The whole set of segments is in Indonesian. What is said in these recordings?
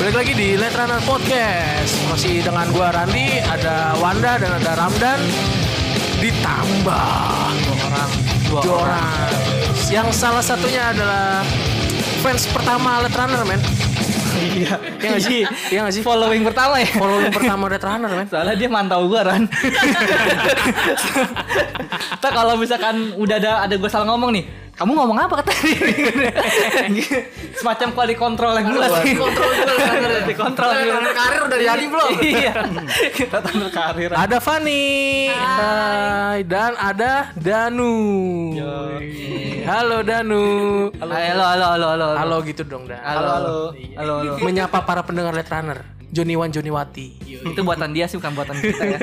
balik lagi di Late Runner Podcast Masih dengan gua Randi, ada Wanda dan ada Ramdan Ditambah dua orang Dua, orang. Yang salah satunya adalah fans pertama Late Runner men Iya. Iya nggak sih? Iya nggak sih? Following pertama ya. Following pertama Late Runner men Soalnya dia mantau gue Ran. Kita kalau misalkan udah ada ada gue salah ngomong nih. Kamu ngomong apa kata Semacam quality control yang gula sih. Kontrol Quality control. karir udah jadi belum? Iya. Kita tanda karir. Ada Fani Hai. Dan ada Danu Halo Danu Halo, halo, halo, halo, halo. Halo gitu dong Dan Iya. Halo, halo. Halo, halo. menyapa para pendengar Late Runner Joniwan Joniwati Itu buatan dia sih bukan buatan kita ya.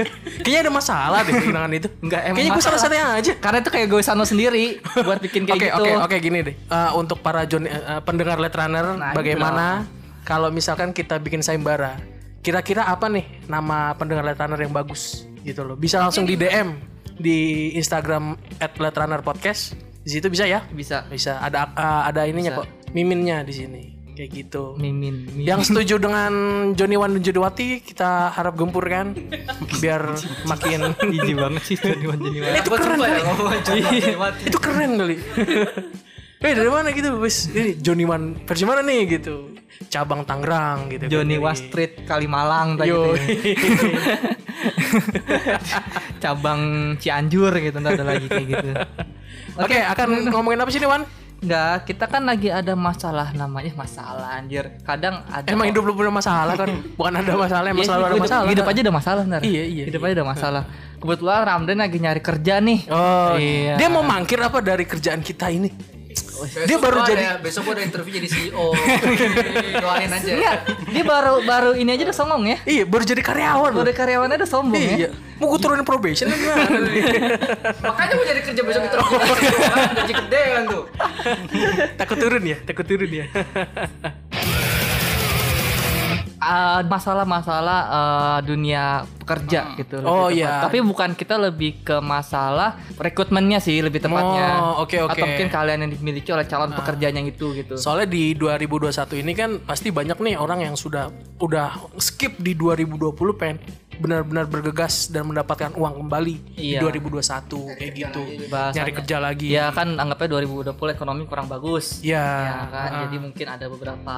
kayaknya ada masalah deh kehilangan itu Enggak, emang kayaknya gue masalah. salah-salah aja Karena itu kayak gue sano sendiri buat bikin kayak Oke gitu. oke oke gini deh Eh, untuk para John, eh, pendengar Late Runner Nah, bagaimana kalau misalkan kita bikin sayembara kira-kira apa nih nama pendengar Late Runner yang bagus gitu loh bisa langsung di DM di Instagram @laterunnerpodcast di situ bisa ya Bisa. bisa ada eh, ada ininya Bisa. kok miminnya di sini kayak gitu Mimin. mimin. Yang setuju dengan Joni Wan dan Jodowati kita harap gempur kan biar makin Jijik banget sih Iya. Joniwan Joniwan. Itu keren ya, kali. banget. itu keren kali. Eh dari mana gitu wes ini Joni Wan versi mana nih gitu cabang Tangerang gitu. Joni Dari- Wastrit Kalimalang tadi Yo. gitu. ya. Cabang Cianjur gitu ntar ada lagi kayak gitu. Oke akan ngomongin apa sih nih Wan? Enggak, kita kan lagi ada masalah namanya masalah anjir. Kadang ada Emang hidup lu punya masalah kan? Bukan ada masalah, emang selalu Iya sih, ada hidup- masalah. Hidup aja ada masalah ntar. Iya, iya, Hidup iya. aja ada masalah. Kebetulan Ramdan lagi nyari kerja nih. Oh, Iya. dia mau mangkir apa dari kerjaan kita ini? Dia Oh, Besok baru gua jadi- ada, besok gua ada interview jadi CEO. Doain aja. Enggak, dia baru baru ini aja udah sombong ya. Iya, baru jadi karyawan. loh. Baru karyawannya udah sombong ya. Iya. Mau gue turunin probation apa gimana? Makanya gua jadi kerja besok interview. Oh, iya. Kan Gaji gede kan tuh. Takut turun ya, takut turun ya. Uh, masalah-masalah uh, dunia Hmm. pekerja gitu lebih Oh, tepat. iya. tapi bukan kita lebih ke masalah rekrutmennya sih lebih tepatnya Oh, oke, oke. Nah. atau mungkin kalian yang dimiliki oleh calon pekerjanya itu gitu Soalnya di 2021 ini kan pasti banyak nih orang yang sudah udah skip di 2020 pengen benar-benar bergegas dan mendapatkan uang kembali Iya. di 2021 kayak gitu. Iya, Bahasanya. Nyari kerja lagi. ya kan anggapnya 2020 ekonomi kurang bagus Iya. Ya kan jadi mungkin ada beberapa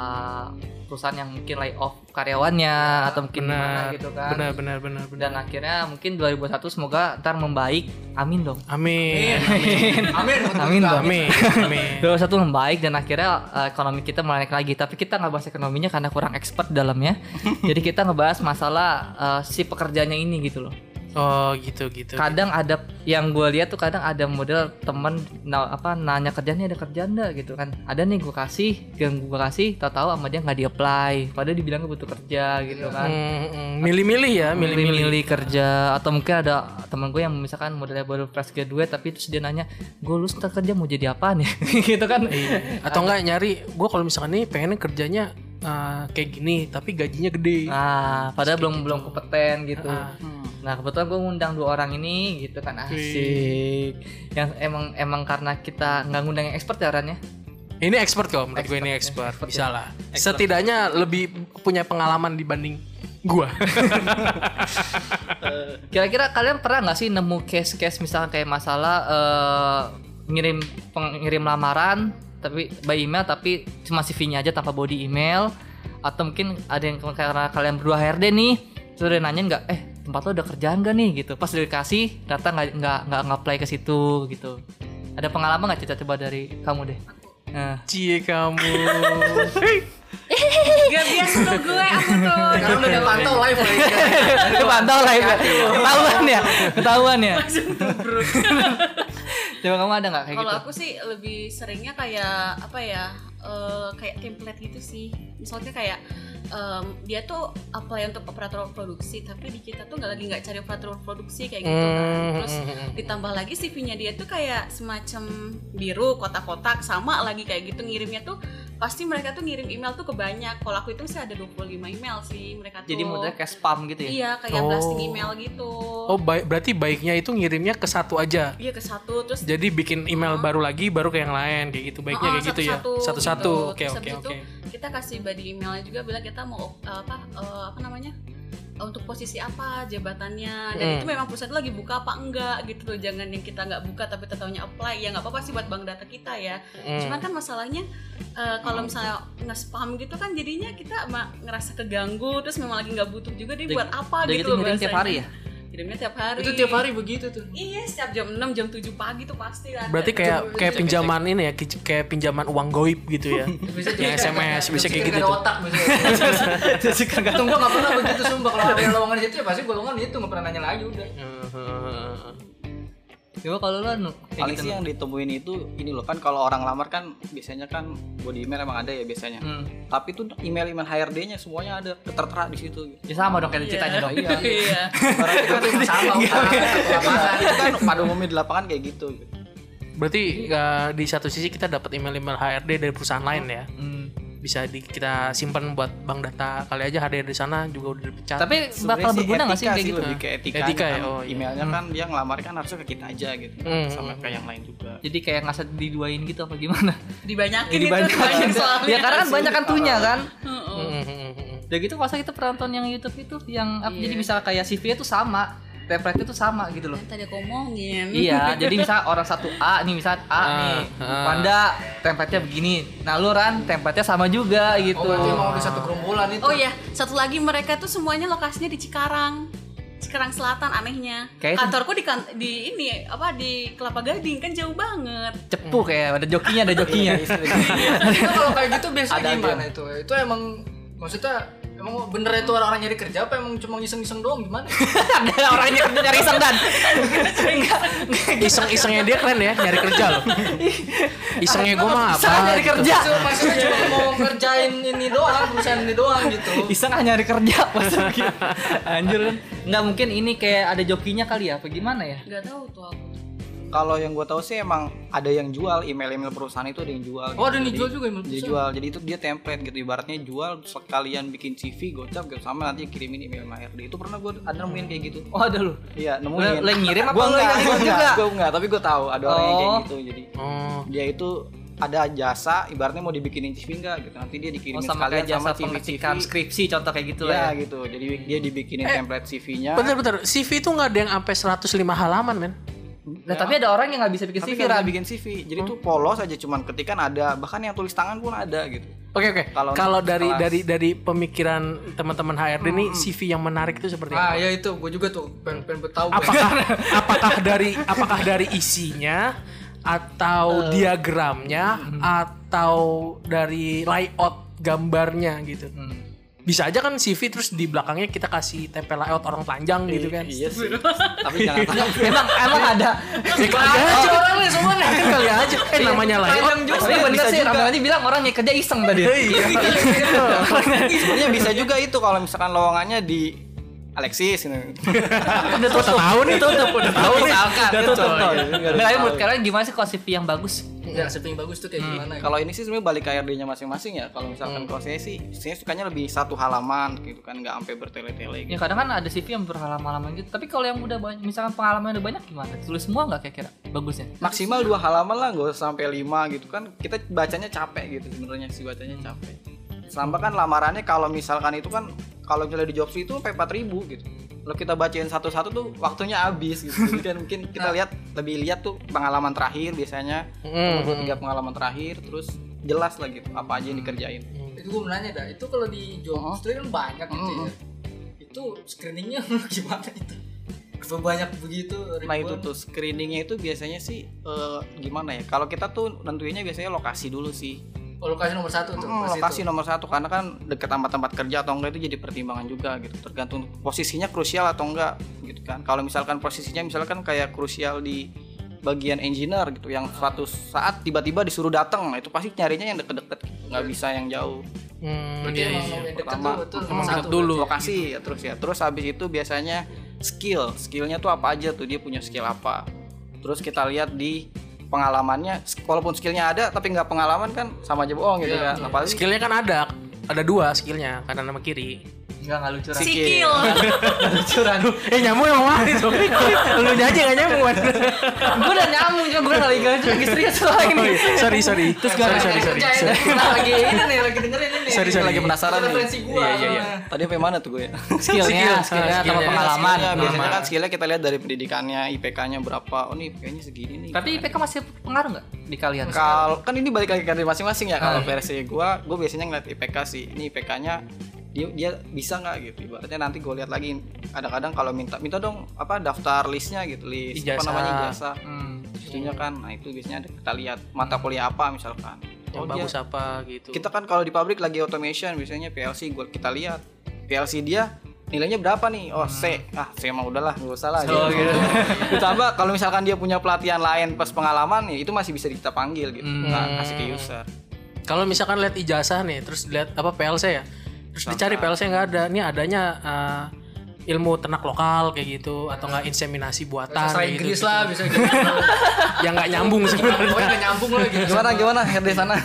perusahaan yang mungkin layoff karyawannya atau mungkin gimana Benar. gitu kan Benar benar benar benar. dan akhirnya mungkin 2021 semoga ntar membaik amin dong Amin. Amin. amin dong Amin. Amin. 2021 membaik dan akhirnya uh, ekonomi kita menaik lagi tapi kita nggak bahas ekonominya karena kurang expert dalamnya jadi kita ngebahas masalah uh, si pekerjanya ini gitu loh Oh gitu gitu. kadang ada yang gue lihat tuh kadang ada model temen na- apa nanya kerjanya ada kerjaan nggak gitu kan ada nih gue kasih yang gue kasih tahu-tahu sama dia nggak di apply padahal dibilang butuh kerja gitu kan Mm, mm, Milih-milih ya, milih-milih. milih-milih kerja atau mungkin ada teman gue yang misalkan modelnya baru fresh graduate tapi terus dia nanya gue lulus ntar kerja mau jadi apa nih gitu kan Iya. Atau enggak nyari gue kalau misalkan nih pengen kerjanya eh, kayak gini tapi gajinya gede. Nah, padahal belum belum kompeten gitu. Ah. Nah, kebetulan gue ngundang dua orang ini gitu kan asik. Yang emang emang karena kita nggak ngundang yang expert ya Ran ya. Ini expert kok menurut gue ini expert, ya. bisa lah. Setidaknya lebih punya pengalaman dibanding gua. Kira-kira kalian pernah nggak sih nemu case-case misalkan kayak masalah eh, ngirim pengirim lamaran tapi by email tapi cuma CV-nya aja tanpa body email atau mungkin ada yang karena kalian berdua HRD nih terus dia nanya nggak eh tempat lo udah kerjaan gak nih gitu pas dikasih ternyata nggak nggak nggak nggak apply ke situ gitu ada pengalaman nggak Cica coba dari kamu deh Nah, Cie kamu. Gak biasa tuh gue, aku tuh Karena udah dipantau live lagi. kepantau lah ya ketahuan ya ketahuan ya coba kamu ada nggak kayak gitu Kalau gitu aku sih lebih seringnya kayak apa ya eh, Kayak template gitu sih Misalnya kayak em, dia tuh apply untuk operator produksi Tapi di kita tuh nggak lagi nggak cari operator produksi kayak gitu kan Hmm. Terus Mm-hmm. ditambah lagi CV-nya dia tuh kayak semacam biru kotak-kotak Sama lagi kayak gitu ngirimnya tuh Pasti mereka tuh ngirim email tuh kebanyak Kalau aku itu sih ada 25 email sih mereka tuh jadi modelnya kayak spam gitu ya Iya kayak Oh. blasting email gitu Oh, baik berarti baiknya itu ngirimnya ke satu aja. Iya ke satu terus Jadi bikin email baru lagi baru ke yang lain kayak gitu. Baiknya Oh, kayak gitu ya. satu-satu Satu-satu. gitu. Oke, Terus oke, habis itu oke. kita kasih body emailnya juga bilang kita mau eh, apa eh, apa namanya Eh, untuk posisi apa jabatannya dan Hmm. itu memang pusat lagi buka apa enggak gitu loh jangan yang kita nggak buka tapi tetapnya apply ya nggak apa-apa sih buat bank data kita ya Hmm. cuman kan masalahnya eh, kalau misalnya nggak spam gitu kan jadinya kita ma- ngerasa keganggu terus memang lagi nggak butuh juga dia Dan- buat apa Dan gitu itu loh ngirim tiap hari bahasanya. ya? kirimnya tiap hari Itu tiap hari begitu tuh. iya setiap jam 6 jam 7 pagi tuh pasti ada. Berarti kayak kayak cek, pinjaman ini ya, ki- kayak pinjaman uang goib gitu ya. Yang SMS bisa kayak gitu tuh. Ada otak biasanya. Untung gua nggak pernah begitu sumpah kalau ada lowongan itu ya pasti gua lowongan itu nggak pernah nanya lagi udah. Uh-huh. Coba kalau lu anu, kayak paling gitu. sih yang ditemuin itu ini loh kan kalau orang lamar kan biasanya kan body email emang ada ya biasanya Hmm. tapi tuh email email HRD-nya semuanya ada tertera di situ Ya sama dong kayak ceritanya dong. iya iya Orang itu kan Iya, Sama utang satu lapangan. itu kan pada umumnya di lapangan kayak gitu Berarti eh, di satu sisi kita dapat email-email HRD dari perusahaan lain ya. Hmm. Bisa di, kita simpan buat bank data. Kali aja HRD di sana juga udah dipecat. Tapi bakal Sebenarnya berguna nggak sih etika kayak gitu? lebih ke etika, Etika ya, kan. oh iya. emailnya kan dia ngelamar kan harusnya ke kita aja gitu Hmm. sama ke yang lain juga Jadi kayak nggak diduain gitu apa gimana? dibanyakin Ya, itu dibanyakin. dibanyakin soalnya ya karena kan banyak kan tunya kan. Heeh. Hmm. Udah gitu masa kita pernah nonton yang YouTube itu yang apa, jadi bisa kayak CV-nya tuh sama, template-nya tuh sama gitu loh. Yang tadi aku omongin iya, jadi misal orang satu A nih, misal A nih, ah. Panda template-nya begini. Nah, lu Ran template-nya sama juga gitu. Oh berarti emang udah satu kerumbulan itu. oh iya satu lagi mereka tuh semuanya lokasinya di Cikarang Cikarang Selatan anehnya Kayak itu- kantorku di kan- di ini apa di Kelapa Gading kan jauh banget Cepu kayak ada jokinya, ada Iya, jokinya. Iya, Itu kalau kayak gitu biasanya Ada gimana itu? Itu emang maksudnya emang bener itu orang-orang nyari kerja apa emang cuma ngiseng-ngiseng doang gimana? ada orangnya kerja nyari iseng dan. Iseng-isengnya dia keren ya, nyari kerja loh. Isengnya gue mah apa? Iseng Gitu. nyari kerja. Maksudnya- Maksudnya cuma mau kerjain ini doang, perusahaan ini doang gitu. Iseng ah nyari kerja pas lagi. Anjir kan. Enggak mungkin ini kayak ada jokinya kali ya, apa gimana ya? nggak tahu tuh aku kalau yang gue tahu sih emang ada yang jual email email perusahaan itu ada yang jual gitu. Oh, ada yang Jadi- dijual juga email jadi jual jadi itu dia template gitu ibaratnya jual sekalian bikin CV gocap gitu sama nanti kirimin email sama HRD itu pernah gue ada nemuin kayak gitu Oh, ada lu. iya nemuin Lu- lu yang ngirim apa Gua lu yang enggak, ngirim gua enggak, juga? gua enggak, tapi gue tahu ada orang yang kayak Oh. gitu jadi Oh, dia itu ada jasa ibaratnya mau dibikinin CV enggak gitu nanti dia Oh, dikirimin sama sekalian kayak jasa sama CV pengetikan skripsi contoh kayak gitu ya lah ya. Eh, gitu jadi dia dibikinin template CV-nya Bentar-bentar, CV itu nggak ada yang sampai 105 halaman men Nah, tapi ada orang yang nggak bisa bikin Hmm. tapi CV nggak Ran. bisa bikin CV jadi tuh polos aja cuman ketikan ada bahkan yang tulis tangan pun ada gitu Oke oke. Kalau Kalau dari kelas. dari dari pemikiran teman-teman HRD nih CV yang menarik itu seperti apa? Ah, ya itu gue juga tuh pengen pengen tahu. Apakah apakah dari apakah dari isinya atau diagramnya atau dari layout gambarnya gitu. Hmm. Bisa aja kan CV terus di belakangnya kita kasih tempel layout orang panjang gitu kan. iya sih tapi jangan tahu Emang emang ada. Ya, kali aja orangnya semuanya kan kali aja. Eh namanya layout. Tapi bener sih Ramadi bilang orang yang kerja iseng tadi. sebenarnya bisa juga itu kalau misalkan lowongannya di Alexis gitu. Udah tutup. Tahu nih tutup udah tahu nih. Misalkan. Udah tutup. Nah, tapi menurut kalian gimana sih kalau CV yang bagus? Ya, siapa yang bagus tuh kayak gimana? kalau ini sih sebenarnya balik ke HRD-nya masing-masing ya kalau misalkan kalau saya sih saya sukanya lebih satu halaman gitu kan nggak sampai bertele-tele Ya gitu. kadang kan ada CV yang berhalaman-halaman gitu. Tapi kalau yang udah banyak, misalkan pengalaman udah banyak gimana? Tulis semua nggak kira-kira bagusnya? maksimal dua halaman lah nggak usah sampai lima gitu kan kita bacanya capek gitu sebenarnya sih bacanya capek sama kan lamarannya kalau misalkan itu kan kalau misalnya di jobs itu sampai 4000 gitu kalau kita bacain satu-satu tuh waktunya habis gitu jadi kan mungkin kita lihat lebih lihat tuh pengalaman terakhir biasanya Hmm. tiga pengalaman terakhir terus jelas lah gitu apa aja yang dikerjain Itu gue menanya dah, itu kalau di Uh-huh. job street kan banyak gitu ya. Itu screeningnya gimana itu? Banyak begitu Nah itu ribuan. tuh screeningnya itu biasanya sih eh, gimana ya? Kalau kita tuh nentuinnya biasanya lokasi dulu sih. Oh, lokasi nomor satu tuh. Hmm, pasti lokasi tuh. nomor satu karena kan deket sama tempat kerja atau enggak itu jadi pertimbangan juga gitu. Tergantung posisinya krusial atau enggak gitu kan. Kalau misalkan posisinya misalkan kayak krusial di bagian engineer gitu yang suatu saat tiba-tiba disuruh datang nah itu pasti nyarinya yang deket-deket gitu. nggak bisa yang jauh Hmm, Berarti iya, emang iya. mau yang deket Pertama, dulu, tuh nomor hmm, satu. deket dulu. lokasi ya terus ya terus habis itu biasanya skill skillnya tuh apa aja tuh dia punya skill apa terus kita lihat di pengalamannya walaupun skillnya ada tapi nggak pengalaman kan sama aja bohong gitu kan apalagi Skillnya kan ada, ada dua skillnya kanan sama kiri. Enggak, enggak lucu Ran. Sikil. Curan. Eh nyamuk yang mana itu? Lu aja nggak nyamuk. Wan. gue udah nyambung cuma gue lagi gak lagi serius soalnya Oh, ini iya. Sorry sorry. Terus gara- sorry sorry. Kerjain. sorry. Nah, lagi ini nih, lagi dengerin ini. Sorry, sorry. lagi penasaran Itu nih. referensi gua. Iya, iya, iya. Tadi apa yang mana tuh gue ya? Skill, skillnya skill, skillnya skill, sama iya. pengalaman Skillnya, biasanya Pengalaman. kan skillnya kita lihat dari pendidikannya, IPK-nya berapa. Oh nih IPK-nya segini nih. tapi IPK masih pengaruh nggak di kalian Kalau kan ini balik lagi ke diri masing-masing ya. Kalau Ah, iya. versi gua, gua biasanya ngeliat IPK sih. Ini IPK-nya dia dia bisa nggak gitu ibaratnya nanti gue lihat lagi kadang-kadang kalau minta minta dong apa daftar listnya gitu list apa Ijazah. namanya jasa Hmm. itunya kan nah itu biasanya ada, kita lihat mata kuliah apa misalkan Yang Oh, dia- bagus apa gitu. kita kan kalau di pabrik lagi automation biasanya PLC gua kita lihat PLC dia nilainya berapa nih oh C ah C mah udahlah nggak usah lah Hmm. Oh, gitu. gitu. ditambah kalau misalkan dia punya pelatihan lain pas pengalaman ya itu masih bisa kita panggil gitu Hmm. kita kasih ke user Kalau misalkan lihat ijazah nih, terus lihat apa PLC ya, terus dicari PLC nggak ada, ini adanya eh, ilmu ternak lokal kayak gitu, atau nggak inseminasi buatan Bahasa kayak gitu, Inggris lah bisa gitu. yang nggak nyambung sebenarnya. Pokoknya nggak nyambung lah gitu. gimana gimana Herdi sana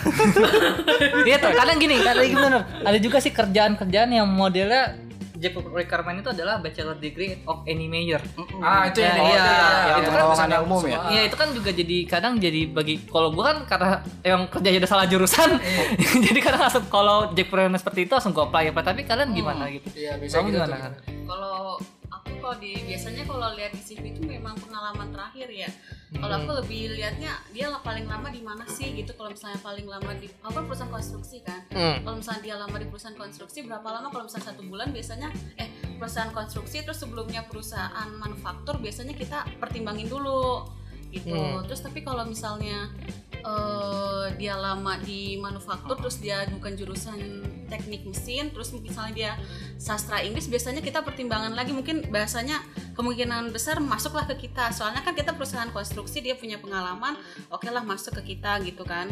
Iya tuh kadang gini, kadang gini bener. Ada juga sih kerjaan-kerjaan yang modelnya job requirement itu adalah bachelor degree of animator. Ah, itu yang Ya, iya. Oh, Yang itu kan lowongan pesan yang umum ya? semua. Iya itu kan juga jadi kadang jadi bagi kalau gua kan karena yang kerja udah salah jurusan, jadi kadang langsung kalau job requirement seperti itu langsung gua apply apa. Tapi kalian gimana gitu? Iya, bisa Kamu gitu. gimana? tuh. Kan? kalau aku kalau di biasanya kalau lihat di CV itu memang pengalaman terakhir ya kalau aku lebih lihatnya dia lah paling lama di mana sih gitu kalau misalnya paling lama di aku kan perusahaan konstruksi kan Hmm. kalau misalnya dia lama di perusahaan konstruksi berapa lama kalau misalnya satu bulan biasanya eh perusahaan konstruksi terus sebelumnya perusahaan manufaktur biasanya kita pertimbangin dulu gitu terus tapi kalau misalnya eh, dia lama di manufaktur terus dia bukan jurusan teknik mesin terus misalnya dia sastra Inggris biasanya kita pertimbangan lagi mungkin bahasanya kemungkinan besar masuklah ke kita soalnya kan kita perusahaan konstruksi dia punya pengalaman oke lah masuk ke kita gitu kan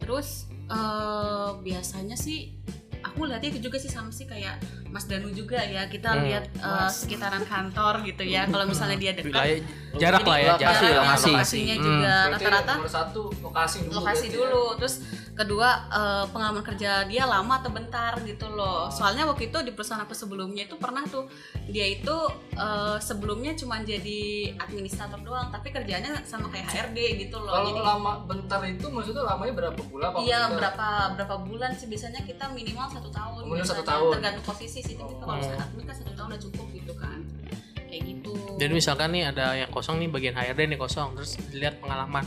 terus eh, biasanya sih aku lihatnya itu juga sih sama sih kayak Mas Danu juga ya kita lihat eh, sekitaran kantor gitu ya kalau misalnya dia dekat Wilayah jarak lah ya, Jadi, jarak. lokasi, jaraknya, lokasi. lokasinya Hmm. juga Berarti rata-rata nomor satu lokasi dulu. lokasi berarti ya. dulu terus kedua eh, pengalaman kerja dia lama atau bentar gitu loh soalnya waktu itu di perusahaan aku sebelumnya itu pernah tuh dia itu eh, sebelumnya cuma jadi administrator doang tapi kerjanya sama kayak HRD gitu loh Kalau Jadi- Oh, lama bentar itu maksudnya lamanya berapa bulan? apa Iya bentar? berapa berapa bulan sih biasanya kita minimal satu tahun. Minimal biasanya, satu tahun. Tergantung posisi sih tapi Oh. kalau misalnya admin kan satu tahun udah cukup gitu kan. Kayak gitu. Jadi misalkan nih ada yang kosong nih bagian HRD nih kosong, terus dilihat pengalaman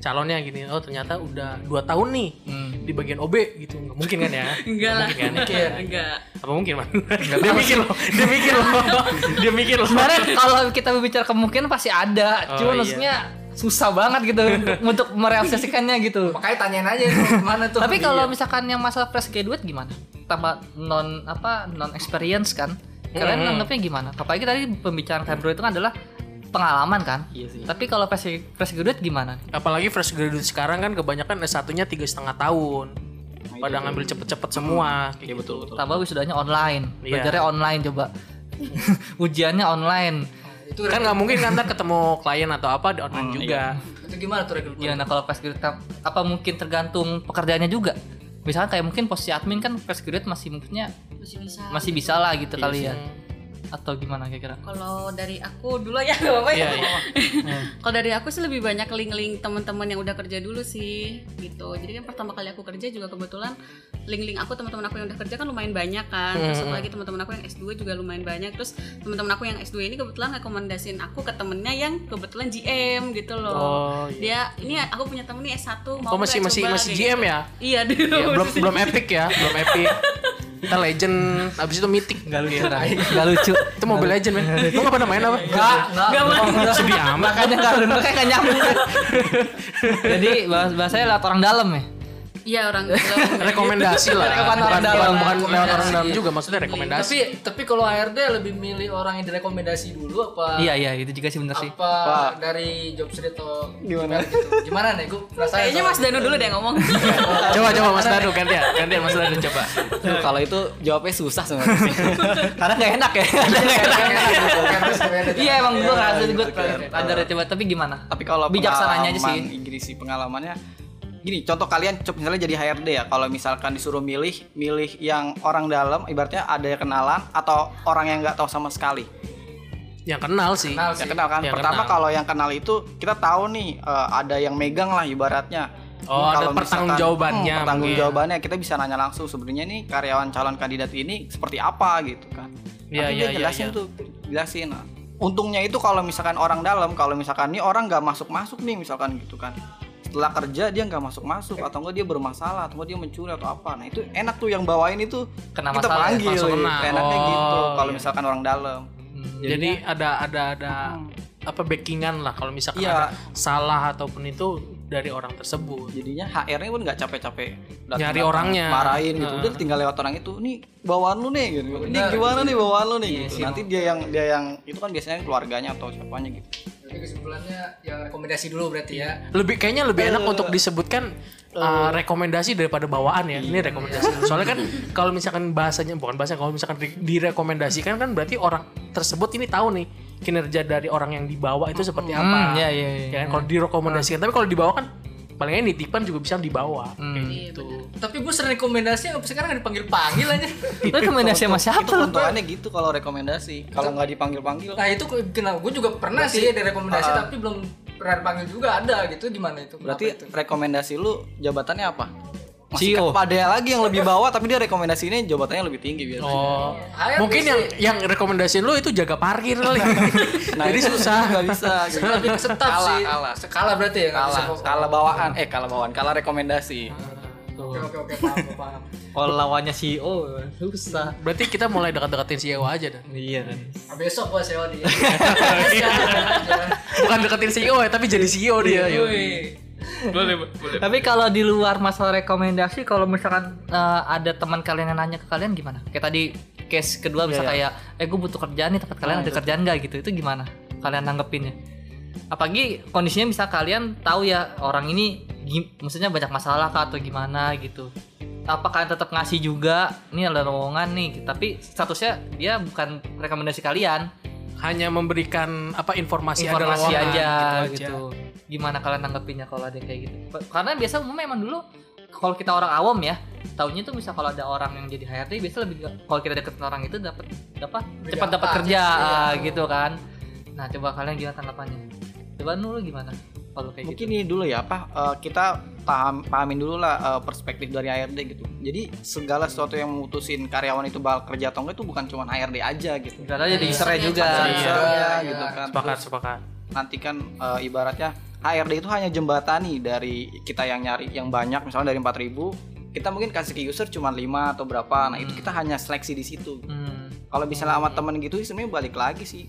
calonnya gini, oh ternyata udah dua tahun nih Hmm. di bagian OB gitu, nggak mungkin kan ya? enggak lah. Mungkin kan? Iya. Enggak. Apa mungkin man? dia mikir loh, dia mikir loh, dia mikir loh. Sebenarnya kalau kita berbicara kemungkinan pasti ada, Oh, cuma iya. maksudnya susah banget gitu untuk, untuk merealisasikannya gitu. Makanya tanyain aja itu mana tuh. Tapi kalau Iya. misalkan yang masalah fresh graduate gimana? Tambah non apa non experience kan? Kalian Mm-mm. nanggepnya gimana? Apalagi tadi pembicaraan Februari itu kan adalah pengalaman kan? Iya sih. Tapi kalau fresh, fresh graduate gimana? Apalagi fresh graduate sekarang kan kebanyakan S1-nya tiga setengah tahun. Pada ngambil cepet-cepet semua. gitu. iya betul betul Tambah wisudanya online, Iya. belajarnya online coba. Ujiannya online. itu Kan nggak mungkin kan ntar ketemu klien atau apa di online Hmm, juga. itu gimana tuh rekrutmen? Gimana kalau fresh graduate apa mungkin tergantung pekerjaannya juga? Misalkan kayak mungkin posisi admin kan fresh graduate masih mungkinnya Masih bisa. masih bisa lah gitu Iya kali sih. ya. Atau gimana kira-kira? Kalau dari aku dulu ya nggak apa-apa Iya, ya. iya. Kalau dari aku sih lebih banyak link-link teman-teman yang udah kerja dulu sih gitu. Jadi kan pertama kali aku kerja juga kebetulan link-link aku teman-teman aku yang udah kerja kan lumayan banyak kan. Mm-hmm. Terus apalagi teman-teman aku yang S2 juga lumayan banyak. Terus teman-teman aku yang S2 ini kebetulan rekomendasiin aku ke temennya yang kebetulan GM gitu loh. Oh, iya. Dia ini aku punya temen nih S1 mau Oh, masih nggak masih coba? masih Kayak GM gitu. ya? Iya dulu. Iya, belum belum epic ya, belum epic. Kita legend, abis itu mythic. Iya. Gak lucu, gak lucu. Itu Mobile Legend, men. Lu nggak pernah main apa? Oh, Enggak, enggak. Sedih amat. Makanya gak lucu, kayak gak nyambung. Jadi bahas bahasanya lewat orang dalam ya. Iya orang dalam. Rekomendasi lah. Lewat Bukan- orang dalam. Bukan lewat orang Rekomendasi. dalam juga, maksudnya rekomendasi. Iya, Tapi tapi kalau HRD lebih milih orang yang direkomendasi dulu apa Iya iya itu juga sih bener sih. apa dari job street atau gimana gitu. Gimana nih gue penasaran. Kayaknya Mas Danu dulu deh yang ngomong. Coba coba Mas Danu gantian, gantian Mas Danu coba. Duh, kalau itu jawabnya susah sebenarnya sih. karena nggak enak ya Iya emang gue ngerasa gue gitu kan. ada coba tapi gimana? tapi kalau Bijaksananya aja pengalaman Inggris sih pengalamannya gini contoh kalian cep- misalnya jadi HRD ya kalau misalkan disuruh milih milih yang orang dalam ibaratnya ada yang kenalan atau orang yang nggak tahu sama sekali Yang kenal sih. yang Kenal sih. kenal kan Yang pertama kenal. kalau yang kenal itu kita tahu nih eh, ada yang megang lah ibaratnya Oh, ada Kalau misalkan- pertanggungjawabannya hmm, pertanggung mungkin. jawabannya kita bisa nanya langsung sebenarnya nih karyawan calon kandidat ini seperti apa gitu kan Iya, iya, Nanti dia iya, jelasin iya. tuh jelasin Nah, untungnya itu kalau misalkan orang dalam kalau misalkan nih orang nggak masuk masuk nih misalkan gitu kan setelah kerja dia nggak masuk masuk atau enggak dia bermasalah atau enggak dia mencuri atau apa nah itu enak tuh yang bawain itu Kena kita masalah ya, panggil langsung kena. enaknya gitu Oh, kalau iya. misalkan orang dalam Jadi ada ada ada apa backingan lah kalau misalkan Iya. ada salah ataupun itu dari orang tersebut. jadinya HR-nya pun nggak capek-capek datang- Nyari datang, orangnya. marahin gitu Heeh. udah tinggal lewat orang itu nih bawaan lu nih gitu ini Bener. gimana nih bawaan lu nih Iya gitu sih. nanti dia yang dia yang itu kan biasanya keluarganya atau siapanya gitu Jadi kesimpulannya ya rekomendasi dulu berarti ya. Lebih kayaknya lebih enak untuk disebutkan uh, rekomendasi daripada bawaan ya. Ini rekomendasi. Soalnya kan kalau misalkan bahasanya bukan bahasa kalau misalkan di- direkomendasikan kan berarti orang tersebut ini tahu nih kinerja dari orang yang dibawa itu seperti apa. Hmm, iya, iya, iya. Ya kan kalau direkomendasikan tapi kalau dibawa kan palingnya nitipan juga bisa dibawa. Kayak gitu. Tapi gue sering rekomendasi sampai sekarang nggak dipanggil-panggil aja. Lu rekomendasi sama itu siapa lu? bentukannya gitu kalau rekomendasi kalau nggak kan. dipanggil panggil Nah itu kenal gue juga pernah sih ada rekomendasi tapi belum pernah dipanggil juga ada gitu gimana itu? berarti Kenapa itu? rekomendasi lu jabatannya apa CEO. kepada lagi yang lebih bawah tapi dia rekomendasinya jabatannya lebih tinggi biasanya Oh, Ayo, mungkin bisa. yang yang rekomendasiin lu itu jaga parkir kali. Nah, Jadi itu susah. nggak bisa gitu. lebih ke setap Kalah, sih. kalah. Sekala berarti ya. nggak kalah bisa- kalah bawaan eh kalah bawaan kalah rekomendasi Oke oke oke paham paham. Kalau lawannya CEO susah. Berarti kita mulai dekat-dekatin si Ewa aja dah. Iya. Nah, besok gue sewa dia. Bukan deketin CEO ya, tapi jadi CEO Iya, dia. Tapi kalau di luar masalah rekomendasi, kalau misalkan eh, ada teman kalian yang nanya ke kalian gimana? Kayak tadi case kedua bisa kayak, eh gue butuh kerjaan nih tempat kalian ada kerjaan nggak gitu? Itu gimana? Kalian nanggepinnya? Apalagi kondisinya bisa kalian tahu ya orang ini, gi- maksudnya banyak masalah kah atau gimana gitu? Apa kalian tetap ngasih juga? Ini ada lowongan nih, tapi statusnya dia bukan rekomendasi kalian, Hanya memberikan apa informasi, ada informasi lowongan, aja gitu, gimana kalian nanggepinnya kalau ada yang kayak gitu karena biasa umumnya emang dulu kalau kita orang awam ya tahunya tuh bisa kalau ada orang yang jadi HRD biasa lebih kalau kita deketin orang itu dapat dapat Lebih cepat dapat gampang, kerja iya. ah, gitu kan nah coba kalian gimana tanggapannya coba dulu gimana kalau kayak mungkin gitu ini dulu ya apa eh, kita paham pahamin dulu lah eh, perspektif dari HRD gitu jadi segala sesuatu yang memutusin karyawan itu bakal kerja atau enggak itu bukan cuma HRD aja gitu Gak ada jadi usernya juga Usernya Iya. gitu kan Sepakat, sepakat. Terus nanti kan eh, ibaratnya HRD itu hanya jembatani dari kita yang nyari yang banyak misalnya dari 4000 kita mungkin kasih ke user cuma 5 atau berapa nah itu kita hanya seleksi di situ Hmm. kalau misalnya sama temen gitu sih sebenarnya balik lagi sih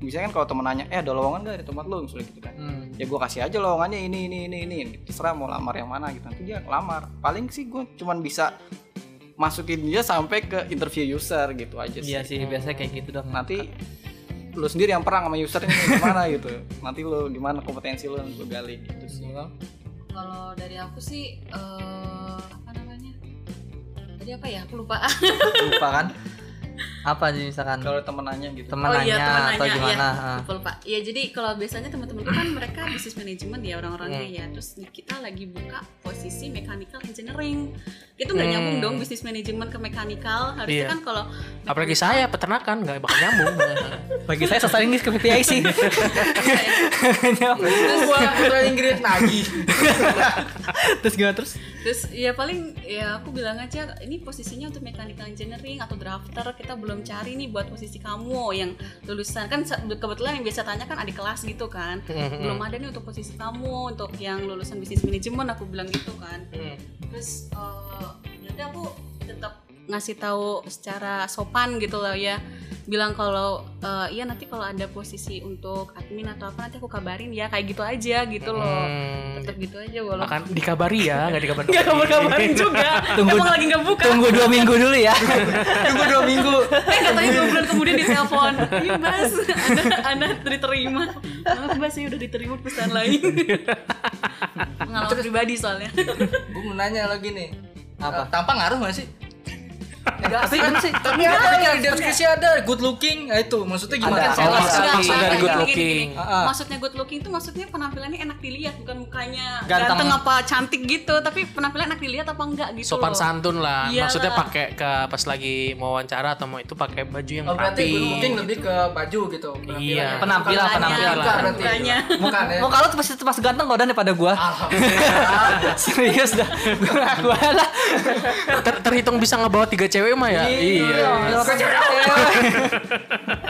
misalnya kan kalau temen nanya eh ada lowongan gak di tempat lo misalnya gitu kan Hmm. ya gue kasih aja lowongannya ini ini ini ini terserah mau lamar yang mana gitu nanti dia lamar paling sih gue cuman bisa masukin dia sampai ke interview user gitu aja sih iya sih biasanya kayak gitu dong nanti lu sendiri yang perang sama user ini gimana gitu nanti lu gimana kompetensi lu yang lu gali gitu sih Kalau dari aku sih eh, apa namanya? Tadi apa ya? Aku lupa. lupa kan apa sih misalkan kalau temen nanya gitu teman nanya teman atau nanya, gimana Iya, ah. lupa, lupa. Iya, jadi kalau biasanya teman-teman kan mereka bisnis manajemen ya orang-orangnya ya. Terus di- kita lagi buka posisi mechanical engineering. Itu nggak Hmm. nyambung dong bisnis manajemen ke mechanical. Harusnya Iya. kan kalau Apalagi saya peternakan nggak bakal nyambung. bagi saya sasar Inggris ke PPIC Gua putra Inggris lagi. terus gimana terus Terus ya paling ya aku bilang aja ini posisinya untuk mechanical engineering atau drafter kita belum cari nih buat posisi kamu yang lulusan kan se- kebetulan yang biasa tanya kan adik kelas gitu kan belum ada nih untuk posisi kamu untuk yang lulusan bisnis manajemen aku bilang gitu kan terus eh yaudah aku tetap ngasih tahu secara sopan gitu loh ya bilang kalau eh, iya nanti kalau ada posisi untuk admin atau apa nanti aku kabarin ya kayak gitu aja gitu loh Hmm, tetap gitu aja walaupun akan dikabari ya, nggak dikabarin. Gak kabar-kabarin juga Tunggu- Emang lagi gak buka tunggu dua minggu dulu ya tunggu dua minggu Eh katanya dua bulan kemudian ditelepon Iya mas Anda, anda diterima Maaf mas saya udah diterima pesan lain Pengalaman pribadi soalnya Gue mau nanya lagi nih. Apa? Eh, tampang ngaruh nggak sih? Yang Enggak sih, bener sih. Tapi ada yang di deskripsi ada good looking. Nah, itu maksudnya Oh, Ada. gimana? Ada. Salah maksud, sekali. maksud dari good Gini, gini, looking. gini. Maksudnya good looking itu maksudnya penampilannya enak dilihat bukan mukanya Ganteng. ganteng, apa cantik gitu tapi penampilan enak dilihat apa enggak gitu Sopan loh. santun lah. Iya Iyalah. Maksudnya pakai ke pas lagi mau wawancara atau mau itu pakai baju yang Oh, berarti rapi. good looking lebih ke baju gitu. Iya. Penampilan, Bukan- penampilan. Bukan berarti. Mukanya. Bukan ya. Mau kalau tuh pasti pas ganteng kok dan daripada gua. Serius dah. Gua gua lah. Ter- terhitung bisa ngebawa tiga cewek mah ya? Iya. Iya,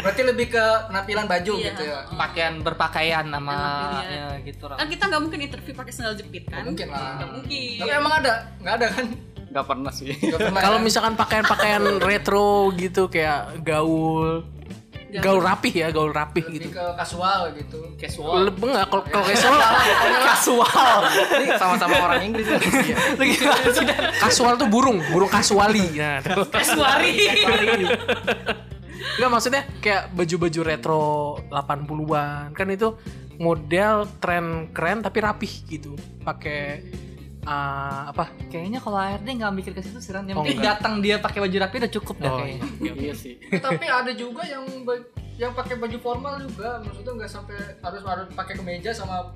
Berarti lebih ke penampilan baju Iya. gitu ya. Pakaian berpakaian sama Enak ya, dilihat. gitu kan orang. kita nggak mungkin interview pakai sandal jepit Nggak kan Mungkin lah. Nggak mungkin Tapi emang ada? Nggak ada kan? Gak pernah sih. Nggak pernah Kalau ya? misalkan pakaian-pakaian retro gitu kayak gaul gaul rapih ya, gaul rapih gitu. lebih ke casual gitu. Casual. Lebih enggak kalau kalau casual kasual. Ini sama-sama orang Inggris. ya? Iya. Lagi Kasual tuh burung, burung kasuali. Nah, tuh. kesuari Enggak maksudnya kayak baju-baju retro 80-an kan itu model tren keren tapi rapih gitu. Pakai eh, apa? Kayaknya kalau ARD nggak mikir ke situ sih Ran. Yang Oh, penting enggak. datang dia pakai baju rapi udah cukup dah Oh, kayaknya. iya. Iya sih. Eh, Tapi ada juga yang ba- yang pakai baju formal juga. Maksudnya nggak sampai harus harus pakai kemeja sama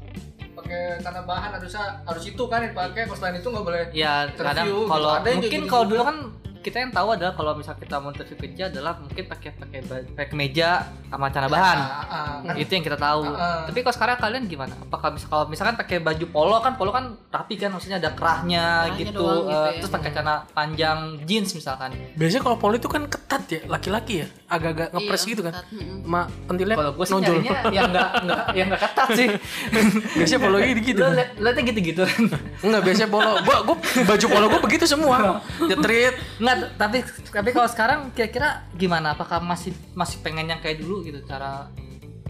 pakai karena bahan harusnya harus itu kan yang pakai kalau selain itu nggak boleh Ya Interview, kadang gitu. kalau Ada yang mungkin gitu-gitu kalau juga. dulu kan kita yang tahu adalah kalau misal kita mau interview kerja adalah mungkin pakai pakai baju- pakai meja sama celana bahan. Ah, ah, ah. Kan itu yang kita tahu. Heeh. Tapi kalau sekarang kalian gimana? Apakah misal kalau misalkan pakai baju polo kan polo kan rapi kan maksudnya ada kerahnya Kerahnya gitu, doang gitu eh, ya. terus pakai celana panjang jeans misalkan. Biasanya kalau poli itu kan ketat ya, laki-laki ya, agak-agak Iya, ngepres gitu kan. Iya. Ma pentilnya Kalau gue sih nonjol. nyarinya yang enggak enggak yang enggak ketat sih. Biasanya polo gitu. gitu. Lo liat- liatnya gitu-gitu kan. Enggak biasanya polo. Gua, gua baju polo gua begitu semua. Nyetrit. Enggak, t- tapi tapi kalau sekarang kira-kira gimana? Apakah masih masih pengen yang kayak dulu gitu cara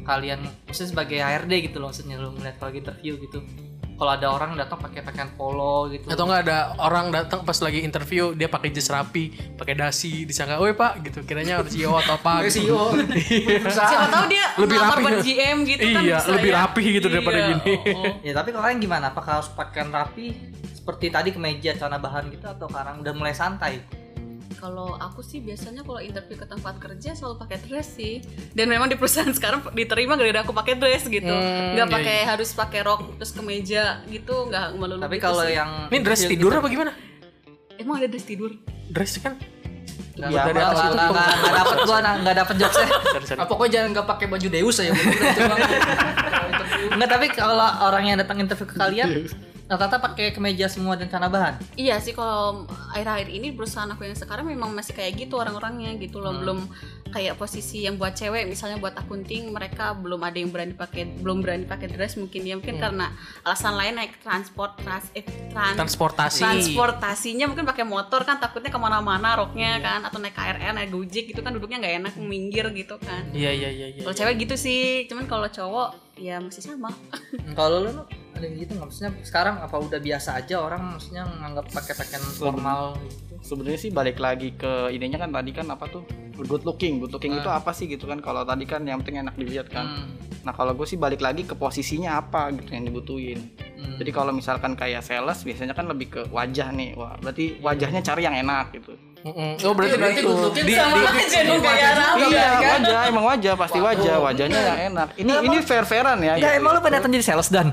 kalian maksudnya sebagai HRD gitu loh maksudnya lo ngeliat kalau interview gitu. Kalau ada orang datang pakai pakaian polo gitu. Atau enggak ada orang datang pas lagi interview dia pakai jas rapi, pakai dasi, disangka, "Woi, Pak," gitu. Kiranya orang CEO atau apa gitu. CEO. siapa tahu dia Lebih ngelamar rapi. buat GM gitu kan Iya, bisa lebih ya. rapi gitu daripada Iya, gini. oh, oh. Ya tapi kalian gimana? Apakah harus pakaian rapi seperti tadi kemeja celana bahan gitu atau sekarang udah mulai santai? Kalau aku sih biasanya kalau interview ke tempat kerja selalu pakai dress sih. Dan memang di perusahaan sekarang diterima gara-gara aku pakai dress gitu. Hmm, nggak iya, pakai harus pakai rok terus kemeja gitu, nggak malu. Tapi kalau yang Ini dress tidur apa gimana? emang ada dress tidur. Dress kan nggak Biar dari atas itu. nggak dapat gua nah, nggak dapat jokesnya. Sorry, sorry. Ah, pokoknya jangan nggak pakai baju Deus ya. Enggak tapi kalau orang yang datang interview ke kalian rata-rata pakai kemeja semua dan celana bahan. Iya sih kalau akhir-akhir ini perusahaan aku yang sekarang memang masih kayak gitu orang-orangnya gitu loh belum kayak posisi yang buat cewek misalnya buat akunting mereka belum ada yang berani pakai belum berani pakai dress mungkin ya mungkin karena alasan lain naik transport trans, eh, trans- Transportasi. transportasinya mungkin pakai motor kan takutnya kemana-mana roknya kan atau naik KRL naik gojek gitu kan duduknya nggak enak minggir gitu kan Iya, iya, iya, iya. kalau cewek gitu sih cuman kalau cowok ya masih sama Kalau lu lu ada yang gitu nggak? Maksudnya sekarang apa udah biasa aja orang maksudnya nganggap pakai pakaian formal gitu. Sebenarnya sih balik lagi ke idenya kan tadi kan apa tuh good looking, good looking itu apa sih gitu kan? Kalau tadi kan yang penting enak dilihat kan. Iya. Hmm. Nah kalau gue sih balik lagi ke posisinya apa gitu yang dibutuhin. Hmm. Jadi kalau misalkan kayak sales biasanya kan lebih ke wajah nih. Wah berarti wajahnya cari yang enak gitu. Mm-mm. Oh, berarti Berarti gitu. good looking Di- sama di- aja dong kayak Arab. Iya kan? wajah emang wajah pasti wajah wajahnya yang enak. Ini ini fair fairan ya. Nggak, gitu. emang lu pada datang jadi sales dan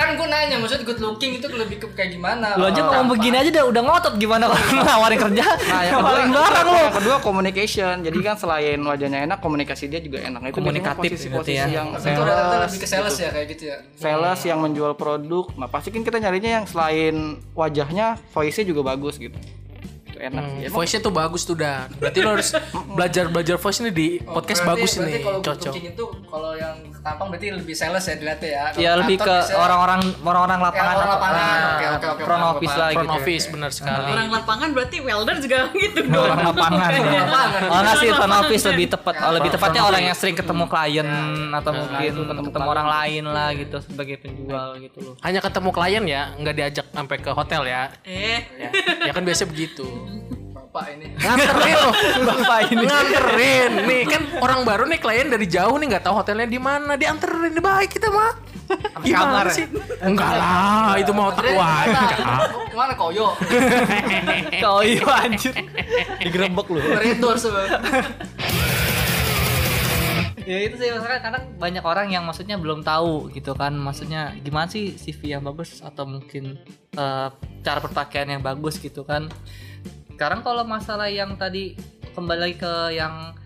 kan gue nanya maksud good looking itu lebih ke kayak gimana lu aja ngomong begini aja udah udah ngotot gimana kalau lu nawarin kerja Nah, yang kedua, nawarin barang lu yang kedua communication. Jadi kan selain wajahnya enak, komunikasi dia juga enak. Nah, Itu Komunikatif biasanya berarti posisi-posisi ya. yang Maksudnya itu rata-rata sales, lebih ke sales gitu. ya kayak gitu ya Sales yang menjual produk. Nah, pasti kan kita nyarinya yang selain wajahnya, voice-nya juga bagus gitu. Itu enak sih. Hmm, Emang voice-nya tuh bagus tuh dan berarti lo harus belajar belajar voice ini di Oh, podcast berarti- bagus berarti ini kalau good cocok looking itu kalau yang tampang berarti lebih sales ya dilihatnya ya Iya, Kalau ya lebih ke kantor biasanya- orang-orang orang-orang lapangan Ya, orang atau- lapangan. Ah, Oke, oke, oke, front paham, office paham. lah front gitu office benar sekali orang lapangan berarti welder juga gitu dong orang lapangan ya. lapangan. oh nggak sih front office lebih tepat Ya, oh, lebih tepatnya orang yang sering ketemu Hmm. klien atau nah, mungkin itu ketemu ketemu klien. orang lain lah gitu sebagai penjual gitu loh hanya ketemu klien ya nggak diajak sampai ke hotel ya eh ya, ya kan biasa begitu bapak ini nganterin loh Bapak ini. nganterin nih kan orang baru nih klien dari jauh nih nggak tahu hotelnya di mana dianterin di baik kita mah kamar gimana ya? sih enggak lah itu mau Andre, takuan kita- kemana koyo Oh, Kau iya anjir. Digerebek lu. Beritur sebenarnya ya itu sih maksudnya kadang banyak orang yang maksudnya belum tahu gitu kan maksudnya gimana sih CV yang bagus atau mungkin eh, cara berpakaian yang bagus gitu kan sekarang kalau masalah yang tadi kembali lagi ke yang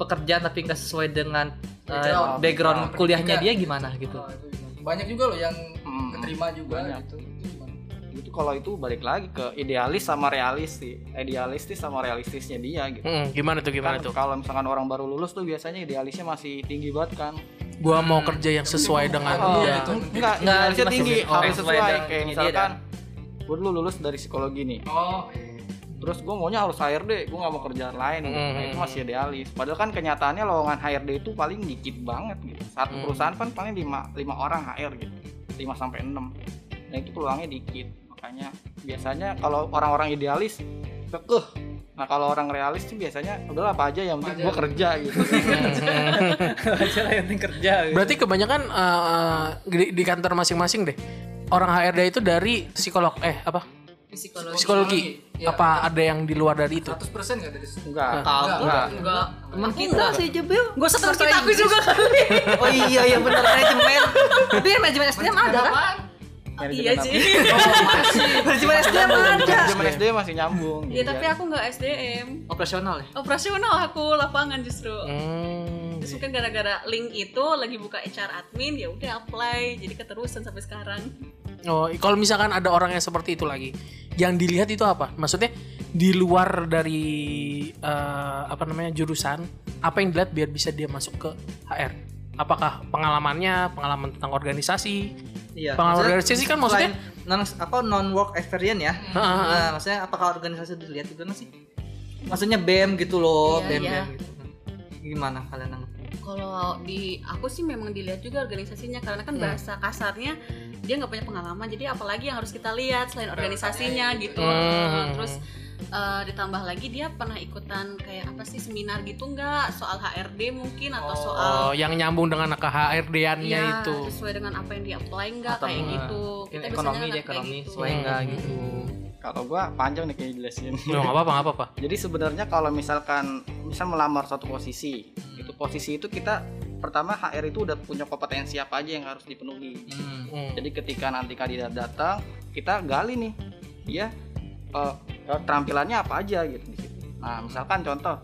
pekerjaan tapi nggak sesuai dengan eh, Background. background, Iya. kuliahnya dia gimana gitu Oh, itu gimana. banyak juga loh yang Hmm. keterima juga Banyak. gitu Itu gimana? Itu Gitu, kalau itu balik lagi ke idealis sama realistis. Idealistis sama realistisnya dia gitu. Hmm, gimana tuh gimana Kan tuh Kalau misalkan orang baru lulus tuh biasanya idealisnya masih tinggi banget kan. gua mau kerja yang sesuai dengan Oh, dia gitu. Enggak, Nggak, idealisnya masih tinggi, sesuai harus sesuai sesuai. dengan Kayak ini dia misalkan, gue dulu lulus dari psikologi nih. oh iya. Terus gue maunya harus HRD, gue nggak mau kerjaan lain. gitu. Nah, Hmm. itu masih idealis. Padahal kan kenyataannya lowongan HRD itu paling dikit banget gitu. Satu Hmm. perusahaan kan paling 5, lima orang HR gitu. 5 sampai 6. Nah, itu peluangnya dikit. Makanya biasanya kalau orang-orang idealis kekeh. Nah, kalau orang realis tuh biasanya udahlah apa aja yang penting Apa aja. gue kerja gitu. aja yang penting kerja berarti kebanyakan eh, di, di kantor masing-masing deh orang HRD itu dari psikolog eh apa psikologi psikologi Iya. apa ada yang di luar dari itu 100% persen nggak dari situ Enggak. tahu Enggak, enggak. enggak teman kita enggak sih Jebil gue setelah Bahasa kita aku Inggris. juga kali Oh iya iya bener manajemen. tapi manajemen SDM ada kan apaan? iya Manajemen sih berjumpa SDM kan? ada Manajemen SD masih nyambung. gitu. Iya Jadi tapi aku nggak SDM operasional ya operasional aku lapangan justru Hmm. terus mungkin gara-gara link itu lagi buka HR admin ya udah apply jadi keterusan sampai sekarang Oh, kalau misalkan ada orang yang seperti itu lagi, yang dilihat itu apa? Maksudnya di luar dari eh, apa namanya jurusan, apa yang dilihat biar bisa dia masuk ke HR? Apakah pengalamannya, pengalaman tentang organisasi? Iya. Pengalaman Maksudnya, organisasi kan maksudnya- selain non apa non work experience ya. Heeh, Nah, maksudnya apakah organisasi dilihat juga nggak sih? Maksudnya BEM gitu loh, Iya, BEM, iya. BEM gitu. Gimana kalian anggap? kalau di aku sih memang dilihat juga organisasinya karena kan bahasa kasarnya dia nggak punya pengalaman jadi apalagi yang harus kita lihat selain organisasinya gitu Hmm. terus eh, ditambah lagi dia pernah ikutan kayak apa sih seminar gitu nggak soal HRD mungkin atau soal Oh, yang nyambung dengan ke HRD-annya eh, Iya, itu. sesuai dengan apa yang di apply nggak Atau kayak enggak. gitu Mungkin biasanya ekonomi kan dia kayak ekonomi gitu. sesuai enggak gitu. Kalau gua panjang nih kayak jelasin. No, nggak apa-apa, nggak apa-apa. Jadi sebenarnya kalau misalkan misal melamar suatu posisi, itu posisi itu kita pertama HR itu udah punya kompetensi apa aja yang harus dipenuhi. Hmm. Hmm. Jadi ketika nanti kandidat datang, kita gali nih dia eh, eh, terampilannya apa aja gitu di situ. Nah, misalkan contoh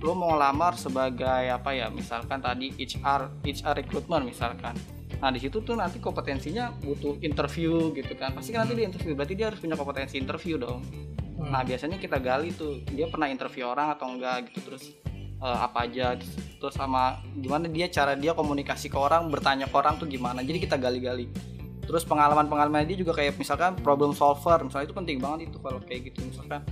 lo mau ngelamar sebagai apa ya? Misalkan tadi HR HR recruitment misalkan. Nah, di situ tuh nanti kompetensinya butuh interview gitu kan. Pasti kan nanti di interview, berarti dia harus punya kompetensi interview dong. Hmm. Nah, biasanya kita gali tuh dia pernah interview orang atau enggak gitu terus eh, apa aja terus, terus sama gimana dia cara dia komunikasi ke orang, bertanya ke orang tuh gimana. Jadi kita gali-gali. Terus pengalaman-pengalaman dia juga kayak misalkan problem solver, misalnya itu penting banget itu kalau kayak gitu misalkan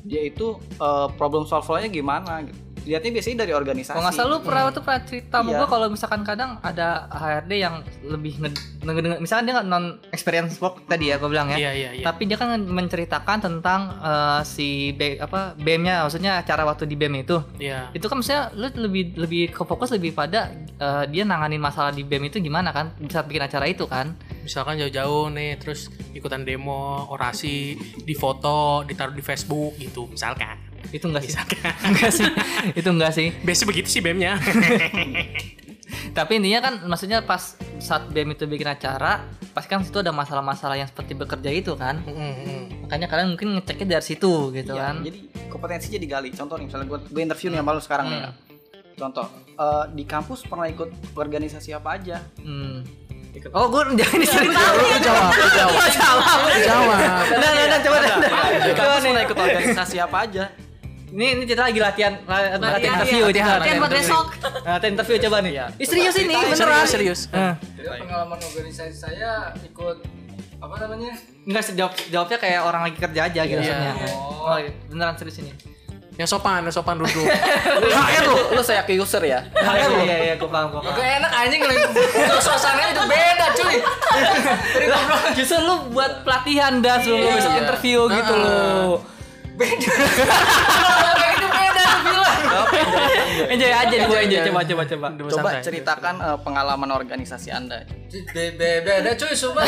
dia itu eh, problem solvernya gimana gitu. Lihatnya biasanya dari organisasi. Kalau nggak salah lu pernah tuh pernah cerita sama Iya. gua kalau misalkan kadang ada HRD yang lebih nge, nge- nge- misalkan dia nggak non experience work tadi ya gua bilang ya. Iya, iya, iya. Tapi dia kan menceritakan tentang eh, si B, apa BEM-nya maksudnya cara waktu di BEM itu. Iya. itu kan maksudnya lu lebih lebih ke fokus lebih pada eh, dia nanganin masalah di BEM itu gimana kan bisa bikin acara itu kan Misalkan jauh-jauh nih terus ikutan demo, orasi, difoto, ditaruh di Facebook gitu, misalkan. itu enggak Iya. sih Misalkan. enggak sih itu enggak sih Biasanya begitu sih ya. BEM-nya. tapi intinya kan maksudnya pas saat BEM itu bikin acara pasti kan situ ada masalah-masalah yang seperti bekerja itu kan makanya kalian mungkin ngeceknya dari situ gitu Iya, kan Jadi kompetensinya digali. Contoh nih misalnya gue, interview nih sama lu sekarang nih. ya. Contoh eh, di kampus pernah ikut organisasi apa aja? hmm. oh gue jangan diceritain Lu jawab, lu jawab. salah Jawab. Nah, nah, nah, coba, nah, nah. Di Coba kampus nih. pernah ikut organisasi apa aja? Ini, ini cerita lagi latihan, latihan, Latihan, interview, latihan. coba, Latihan ya, buat besok Latihan interview coba nih. Iya. Ih, serius ini, Serius, beneran. serius. Eh. Iya, Jadi pengalaman organisasi saya ikut apa namanya Enggak sih, jawab, jawabnya kayak orang lagi kerja aja Iya. gitu maksudnya. Iya. Oh, iya. beneran serius ini. Yang sopan, yang sopan duduk. HR lu, lu saya ke user ya. Iya iya iya, gua paham, gua paham. Gak enak anjing kalau suasananya itu beda cuy. Justru lu buat pelatihan dah sebelum lu Iya. besok interview gitu Heeh. loh. Beda. Kalau kayak gitu beda lu bilang. enjoy aja Enjoy, gue enjoy. enjoy coba Coba, coba Coba ceritakan eh, pengalaman organisasi Anda. Be- be- Beda cuy, sumpah.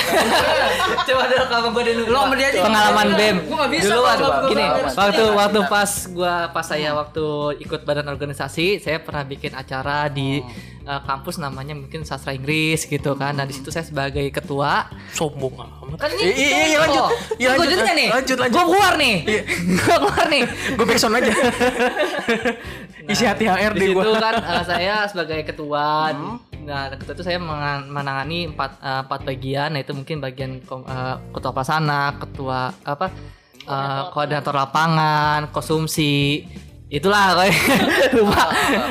coba dulu kalau gue dulu Lo sama dia aja. pengalaman Iya. Gua bem nggak bisa, dulu Pak. Gua Iya. gini nggak bisa. waktu Cerita, waktu cerita. pas gua pas saya waktu ikut badan organisasi saya pernah bikin acara di Oh. eh, kampus namanya mungkin sastra Inggris gitu kan nah di situ saya sebagai ketua Sombong amat. kan Iya, iya, iya, lanjut. Iya, gue lanjut, lanjut nih lanjut, lanjut. gue keluar nih Iya. gue keluar nih Gue backsound aja. Isi hati HRD di situ gue. kan eh, saya sebagai ketua nah ketua itu saya mengan- menangani empat eh, empat bagian yaitu mungkin bagian kom- eh, ketua prasana ketua apa eh, koordinator lapangan konsumsi itulah kayak lupa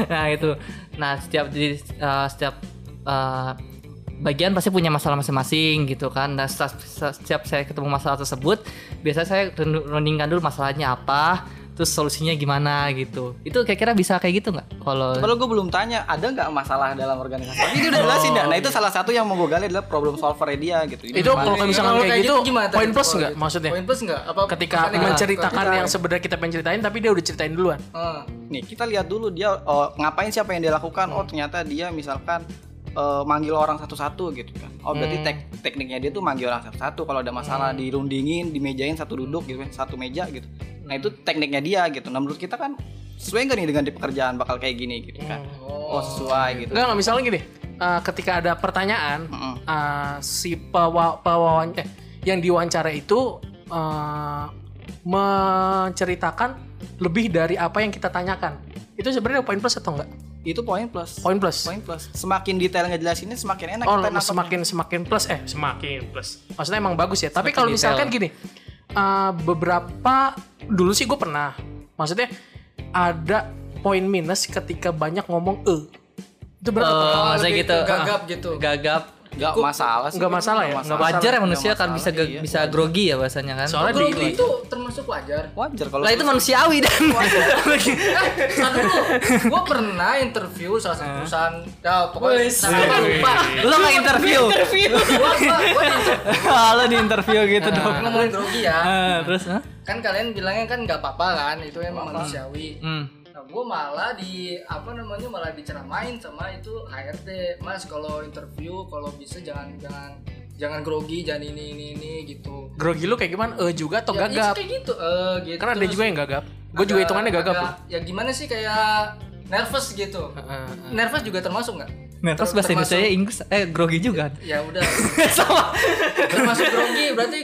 nah itu nah setiap di- eh, setiap eh, bagian pasti punya masalah masing-masing gitu kan dan setiap, setiap saya ketemu masalah tersebut biasanya saya rendu- rendingkan dulu masalahnya apa terus solusinya gimana gitu itu kira-kira bisa kayak gitu nggak kalau Padahal gue belum tanya, ada nggak masalah dalam organisasi? Tapi dia udah jelasin dah. Nah itu salah satu yang mau gue gali adalah problem solver dia gitu. Ini Itu gimana? kalau misalkan kayak gitu, gimana tadi? poin plus Kalau nggak gitu. maksudnya? Poin plus enggak? Apa Ketika apa negatif? menceritakan Ketika- Ah. yang sebenarnya kita pengen ceritain tapi dia udah ceritain duluan. Heeh. nih kita lihat dulu dia oh, ngapain siapa yang dia lakukan Hmm. oh ternyata dia misalkan eh, manggil orang satu-satu gitu kan oh berarti Hmm. tek- tekniknya dia tuh manggil orang satu-satu kalau ada masalah dirundingin dimejain satu duduk gitu kan satu meja gitu nah itu tekniknya dia gitu nah menurut kita kan sesuai nggak nih dengan di pekerjaan bakal kayak gini gitu kan Hmm. oh sesuai gitu Enggak, enggak misalnya gini. eh, ketika ada pertanyaan, Mm-mm. eh, si pewa, pewawan- eh, yang diwawancara itu eh, menceritakan lebih dari apa yang kita tanyakan. Itu sebenarnya poin plus atau enggak? itu poin plus Poin plus. Poin plus semakin detail ngejelasinnya semakin enak oh, kita nangkep. semakin semakin plus eh semakin plus. Maksudnya emang bagus ya. Tapi Semakin kalau detail. misalkan gini, eh, beberapa dulu sih gue pernah. Maksudnya ada poin minus ketika banyak ngomong e. Itu berarti Oh, Lebih saya ke gitu. Gagap gitu. gagap nggak masalah sih Nggak masalah ya? Nggak wajar ya Nggak manusia kan bisa masalah, ge- iya. bisa grogi ya bahasanya kan Soalnya Kalau di- di- itu termasuk wajar. wajar kalau lah itu manusiawi dan Eh, satu dulu. Gue pernah interview salah Ah. satu perusahaan. Ya, pokoknya salah satu lupa. lo nggak interview Gua Nah. gue lo di interview gitu dong ngomongin grogi ya. Ah, terus hah? Kan kalian bilangnya kan nggak apa-apa kan, itu emang manusiawi. Hmm. Nah, gue malah di apa namanya malah diceramain sama itu HRD, Mas kalau interview kalau bisa jangan jangan jangan grogi, jangan ini ini ini gitu. grogi lu kayak gimana? E juga atau Ya, gagap? it's kayak gitu. Eh, gitu. Karena ada juga yang gagap. Gue Agak- juga hitungannya gagap. agak- Ya gimana sih kayak nervous gitu. Nervous juga termasuk nggak? Nah, terus Ter- bahasa termasuk- Indonesia Inggris eh grogi juga Ya udah. sama termasuk grogi berarti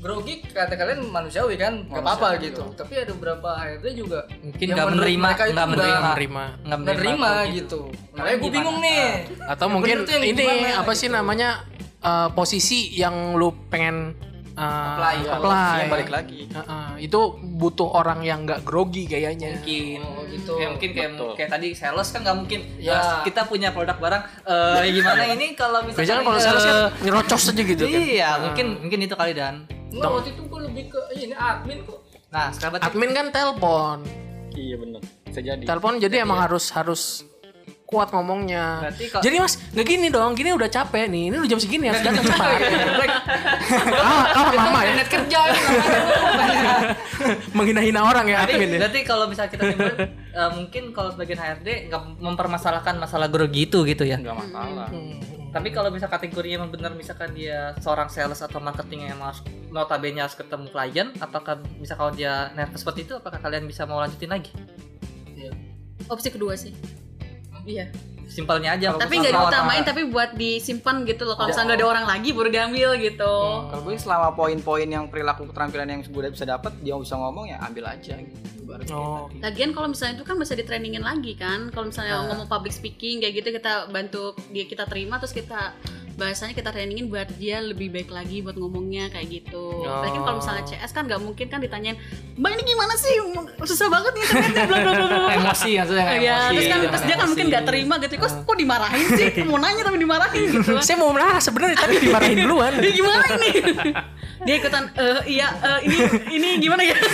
grogi kata kalian manusiawi kan nggak apa-apa gitu tapi ada beberapa HRD juga iya. Mungkin yang nggak menurut menerima, mereka itu nggak Nggak menerima. Nah, menerima. nggak menerima gitu makanya gue bingung nih Atau Yang mungkin bener tuh yang ini gimana, apa sih gitu. namanya eh, posisi yang lu pengen eh, Apply, ya. apply. Yang balik lagi Heeh, itu butuh orang yang nggak grogi kayaknya. mungkin Oh, gitu. ya mungkin kayak Betul. kayak tadi sales kan nggak mungkin Ya. Iya. Terus kita punya produk barang eh gimana ini kalau misalnya Biasanya kan kalau sales kan nyerocos aja gitu ya. kan. Ah. iya mungkin mungkin itu kali dan Nggak, waktu itu gue lebih ke "Ih, ini admin kok nah sekarang berarti Admin kan telepon. iya benar bisa jadi Telepon jadi emang harus harus kuat ngomongnya. Berarti kalau- Jadi mas, nggak gini dong, gini udah capek nih, ini udah jam segini harus datang cepat. ah, ah, mama ya, internet kerja ini namanya. menghina-hina orang ya berarti, admin ya. berarti kalau misalnya kita simpulin, eh, mungkin kalau sebagian HRD nggak mempermasalahkan masalah grogi itu gitu ya Hmm. nggak masalah tapi kalau bisa kategorinya emang benar misalkan dia seorang sales atau marketing yang harus notabene harus ketemu klien apakah bisa kalau dia nervous seperti itu apakah kalian bisa mau lanjutin lagi opsi kedua sih iya simpelnya aja tapi nggak diutamain tapi buat disimpan gitu loh kalau misalnya udah ada orang lagi baru diambil gitu Oh. Kalau gue selama poin-poin yang perilaku keterampilan yang gue udah bisa dapat, dia bisa ngomong ya ambil aja gitu. Ibarat kayak Oh. tadi. Lagian kalau misalnya itu kan bisa ditrainingin lagi kan. Kalau Ah. misalnya ngomong public speaking kayak gitu kita bantu dia kita terima terus kita bahasanya kita trainingin buat dia lebih baik lagi buat ngomongnya kayak gitu. Lagian kalau Oh. misalnya CS kan nggak mungkin kan ditanyain, "Mbak ini gimana sih? Susah banget nih internetnya bla bla bla bla." emosi maksudnya Ya, terus kan terus dia kan mungkin nggak terima gitu. Kok kok dimarahin sih? Mau nanya tapi dimarahin gitu. Ah. Saya mau marah sebenarnya tapi dimarahin duluan. Ini gimana ini? dia ikutan eh iya eh, ini ini gimana ya?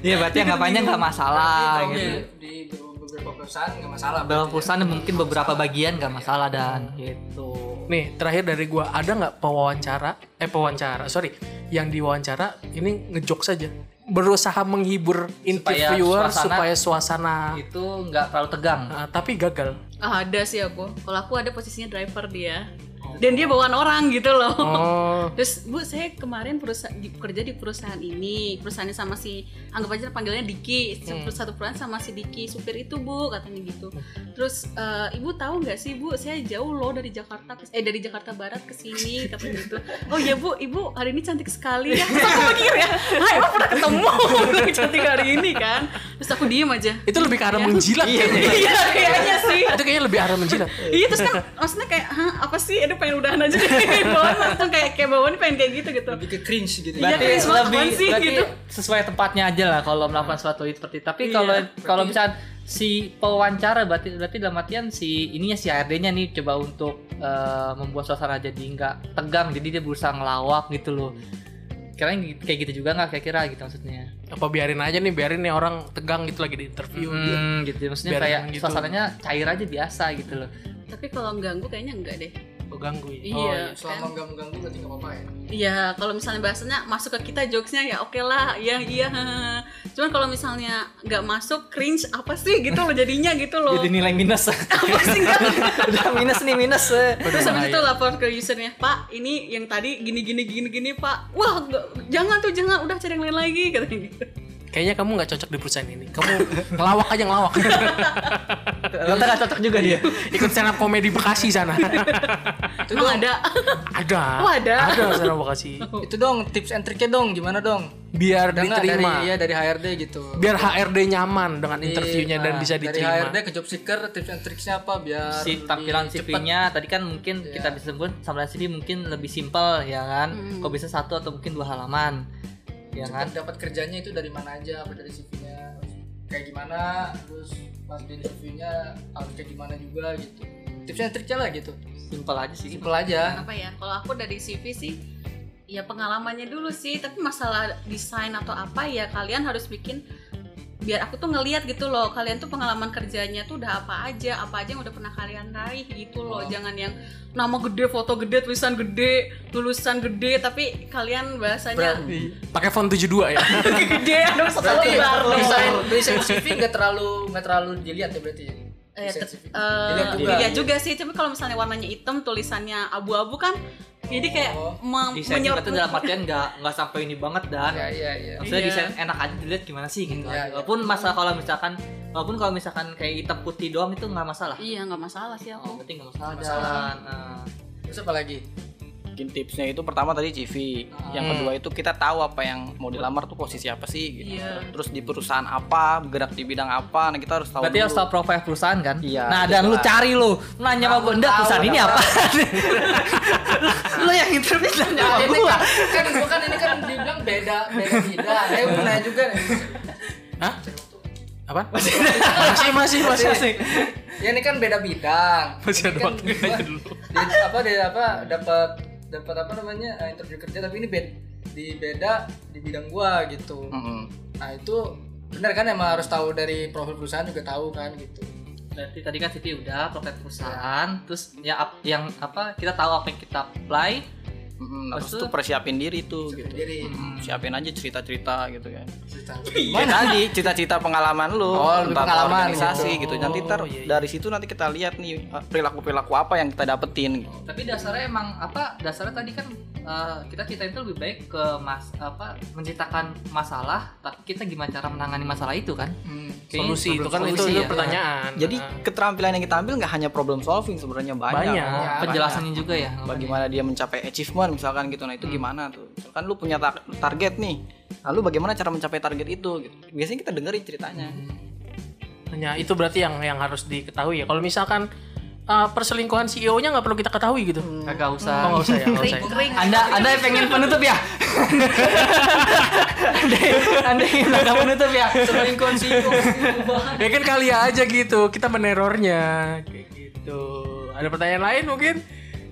Iya berarti anggapannya nggak masalah Oke, gitu. di- di- beberapa perusahaan nggak masalah dalam berarti ya. perusahaan mungkin beberapa bagian nggak masalah dan gitu Nih, terakhir dari gua ada nggak pewawancara? Eh pewawancara, sorry, yang diwawancara ini ngejok saja. Berusaha menghibur interviewer suasana- Gitu. supaya suasana, Nah, itu nggak terlalu tegang Nah, tapi gagal. Ah, ada sih aku. Kalau aku ada posisinya driver dia. Dan dia bawaan orang gitu loh. Oh, Terus bu saya kemarin perusa- di- kerja di perusahaan ini perusahaannya sama si anggap aja panggilannya Diki Hmm. Terus satu perusahaan sama si Diki supir itu bu katanya gitu terus eh, ibu tahu nggak sih bu saya jauh loh dari Jakarta ke- eh dari Jakarta Barat ke sini katanya gitu oh ya bu ibu hari ini cantik sekali ya terus aku mikir ya ah emang pernah ketemu Aku cantik hari ini kan terus aku diem aja itu lebih ke arah menjilat kayaknya. iya kayaknya sih Itu kayaknya lebih arah menjilat. iya terus kan maksudnya kayak Hah, apa sih aduh pengen udahan aja deh bawaan langsung kayak kayak bawaan pengen kayak gitu gitu lebih ke cringe gitu Iya, berarti Chris, apaan lebih sih, berarti gitu? sesuai tempatnya aja lah kalau melakukan suatu itu seperti tapi Iya, kalau kalau misalnya si pewawancara berarti berarti dalam artian si ininya si HRD-nya nih coba untuk eh, membuat suasana jadi nggak tegang jadi dia berusaha ngelawak gitu loh kira kayak gitu juga nggak kira-kira gitu maksudnya Apa biarin aja nih, biarin nih orang tegang gitu lagi di interview. hmm, gitu maksudnya Biar kayak gitu. suasananya cair aja biasa gitu loh tapi kalau ganggu kayaknya enggak deh Gua ganggu ya. Oh, iya kan? selama nggak mengganggu berarti nggak apa-apa ya Iya, kalau misalnya bahasanya masuk ke kita jokesnya ya oke lah, ya iya. hahaha. Cuman kalau misalnya nggak masuk cringe apa sih gitu loh jadinya gitu loh. jadi nilai minus apa sih nggak? udah minus nih minus Terus habis itu lapor ke usernya, Pak, ini yang tadi gini gini gini gini Pak. Wah, nggak- jangan tuh jangan, udah cari yang lain lagi katanya gitu. Kayaknya kamu nggak cocok di perusahaan ini. Kamu ngelawak aja ngelawak. Ternyata nggak cocok juga dia Ikut stand up komedi Bekasi sana. Emang ada. ada. Oh, ada. Ada stand up Bekasi. Oh. itu dong tips and triknya dong gimana dong Biar Ada nggak diterima. dari ya dari HRD gitu biar HRD nyaman dengan interviewnya dan Nah, bisa dari diterima. HRD ke job seeker tips and triknya apa biar si tampilan lebih Iya. cepat. CV-nya tadi kan mungkin kita bisa sebut tampilan CV mungkin lebih simpel ya kan Hmm. kok bisa satu atau mungkin dua halaman ya Cepat kan dapat kerjanya itu dari mana aja apa dari CV-nya terus kayak gimana terus pas di interviewnya harus kayak gimana juga gitu tips and triknya lah gitu simpel aja sih simpel aja apa ya kalau aku dari CV sih ya pengalamannya dulu sih tapi masalah desain atau apa ya kalian harus bikin biar aku tuh ngeliat gitu loh kalian tuh pengalaman kerjanya tuh udah apa aja apa aja yang udah pernah kalian raih gitu loh jangan yang nama gede foto gede tulisan gede tulisan gede tapi kalian bahasanya Pakai font 72 ya. gede aduh satu berarti lebar dong. desain desain CV nggak terlalu nggak terlalu dilihat ya berarti ya Eh, Desain te- CV. eh, Dilihat juga. dilihat juga sih tapi kalau misalnya warnanya hitam tulisannya abu-abu kan jadi kayak Oh. mem- desain kita menyor- tuh dalam artian nggak nggak sampai ini banget dan ya iya iya maksudnya Iya. desain enak aja dilihat gimana sih gitu Iya, aja. iya. walaupun masalah kalau misalkan walaupun kalau misalkan kayak hitam putih doang itu nggak masalah iya nggak masalah sih aku oh, berarti nggak masalah, Nggak masalah. Dan, nah. terus apa lagi Mungkin tipsnya itu pertama tadi CV, yang Hmm. kedua itu kita tahu apa yang mau dilamar tuh posisi apa sih gitu. Iya. Terus di perusahaan apa, bergerak di bidang apa, nah kita harus tahu Berarti dulu. harus tahu profil perusahaan kan? Iya, Nah betul dan lu lah. cari lu nanya sama gue, enggak perusahaan ini apa? lu yang interview nanya sama ini gue. kan, kan bukan ini kan dibilang beda beda bidang saya mau nanya Iya, juga nih Hah? Apa? Masih masih masih masih. ya ini kan beda bidang Masih ada Ini kan waktu gua- aja dulu. di, apa di apa dapat dapat apa namanya eh, interview kerja tapi ini bed di beda di bidang gua gitu Mm-mm. nah itu benar kan emang harus tahu dari profil perusahaan juga tahu kan gitu Berarti tadi kan Siti udah profil perusahaan, Iya. terus ya ap- yang apa kita tahu apa yang kita apply. Mm-mm. Nah, Terus Maksud- tuh persiapin diri tuh gitu. jadi Mm, Siapin aja cerita-cerita gitu kan. cerita Ya tadi cita-cita pengalaman lu Iya. Oh, lebih tentang pengalaman organisasi gitu. gitu. Nanti ntar Oh, iya, iya. dari situ nanti kita lihat nih eh, perilaku-perilaku apa yang kita dapetin gitu. Tapi dasarnya emang apa? Dasarnya tadi kan eh, kita ceritain itu lebih baik ke mas apa menceritakan masalah, tapi kita gimana cara menangani masalah itu kan? Hmm. Kayaknya Solusi itu kan itu solusi itu ya. pertanyaan. Jadi Nah, keterampilan yang kita ambil nggak hanya problem solving sebenarnya banyak. Iya, Banyak. Ya, penjelasannya juga ya. Bagaimana dia mencapai achievement misalkan gitu. Nah, itu gimana tuh? Misalkan lu punya tar- target nih. Lalu bagaimana cara mencapai target itu gitu. Biasanya kita dengerin ceritanya. hanya Ya, itu berarti yang yang harus diketahui ya. Kalau misalkan uh, perselingkuhan CEO-nya nggak perlu kita ketahui gitu. Kagak usah. Oh nggak usah ya, nggak usah ya. kering Anda Anda yang pengen penutup ya? anda, anda ingin agak penutup ya? selingkuhan sih Ya kan kali aja gitu, kita menerornya kayak gitu. Ada pertanyaan lain mungkin?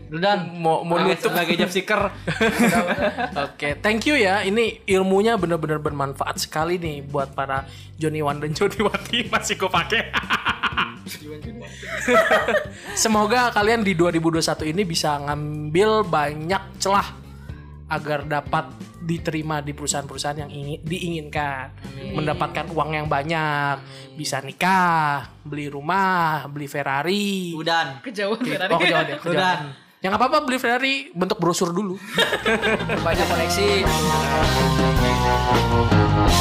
Dan Mau mau nutup sebagai job seeker. Oke, thank you ya. Ini ilmunya benar-benar bermanfaat sekali nih buat para Joni Wan dan Joni Wati masih gue pakai. Semoga kalian di 2021 ini bisa ngambil banyak celah agar dapat diterima di perusahaan-perusahaan yang ingin, diinginkan, mendapatkan uang yang banyak, bisa nikah, beli rumah, beli Ferrari. Udan. Kejauhan Ferrari. Oh, kejauhan ya, kejauhan. Udan. Yang apa apa beli Ferrari bentuk brosur dulu. Banyak koneksi.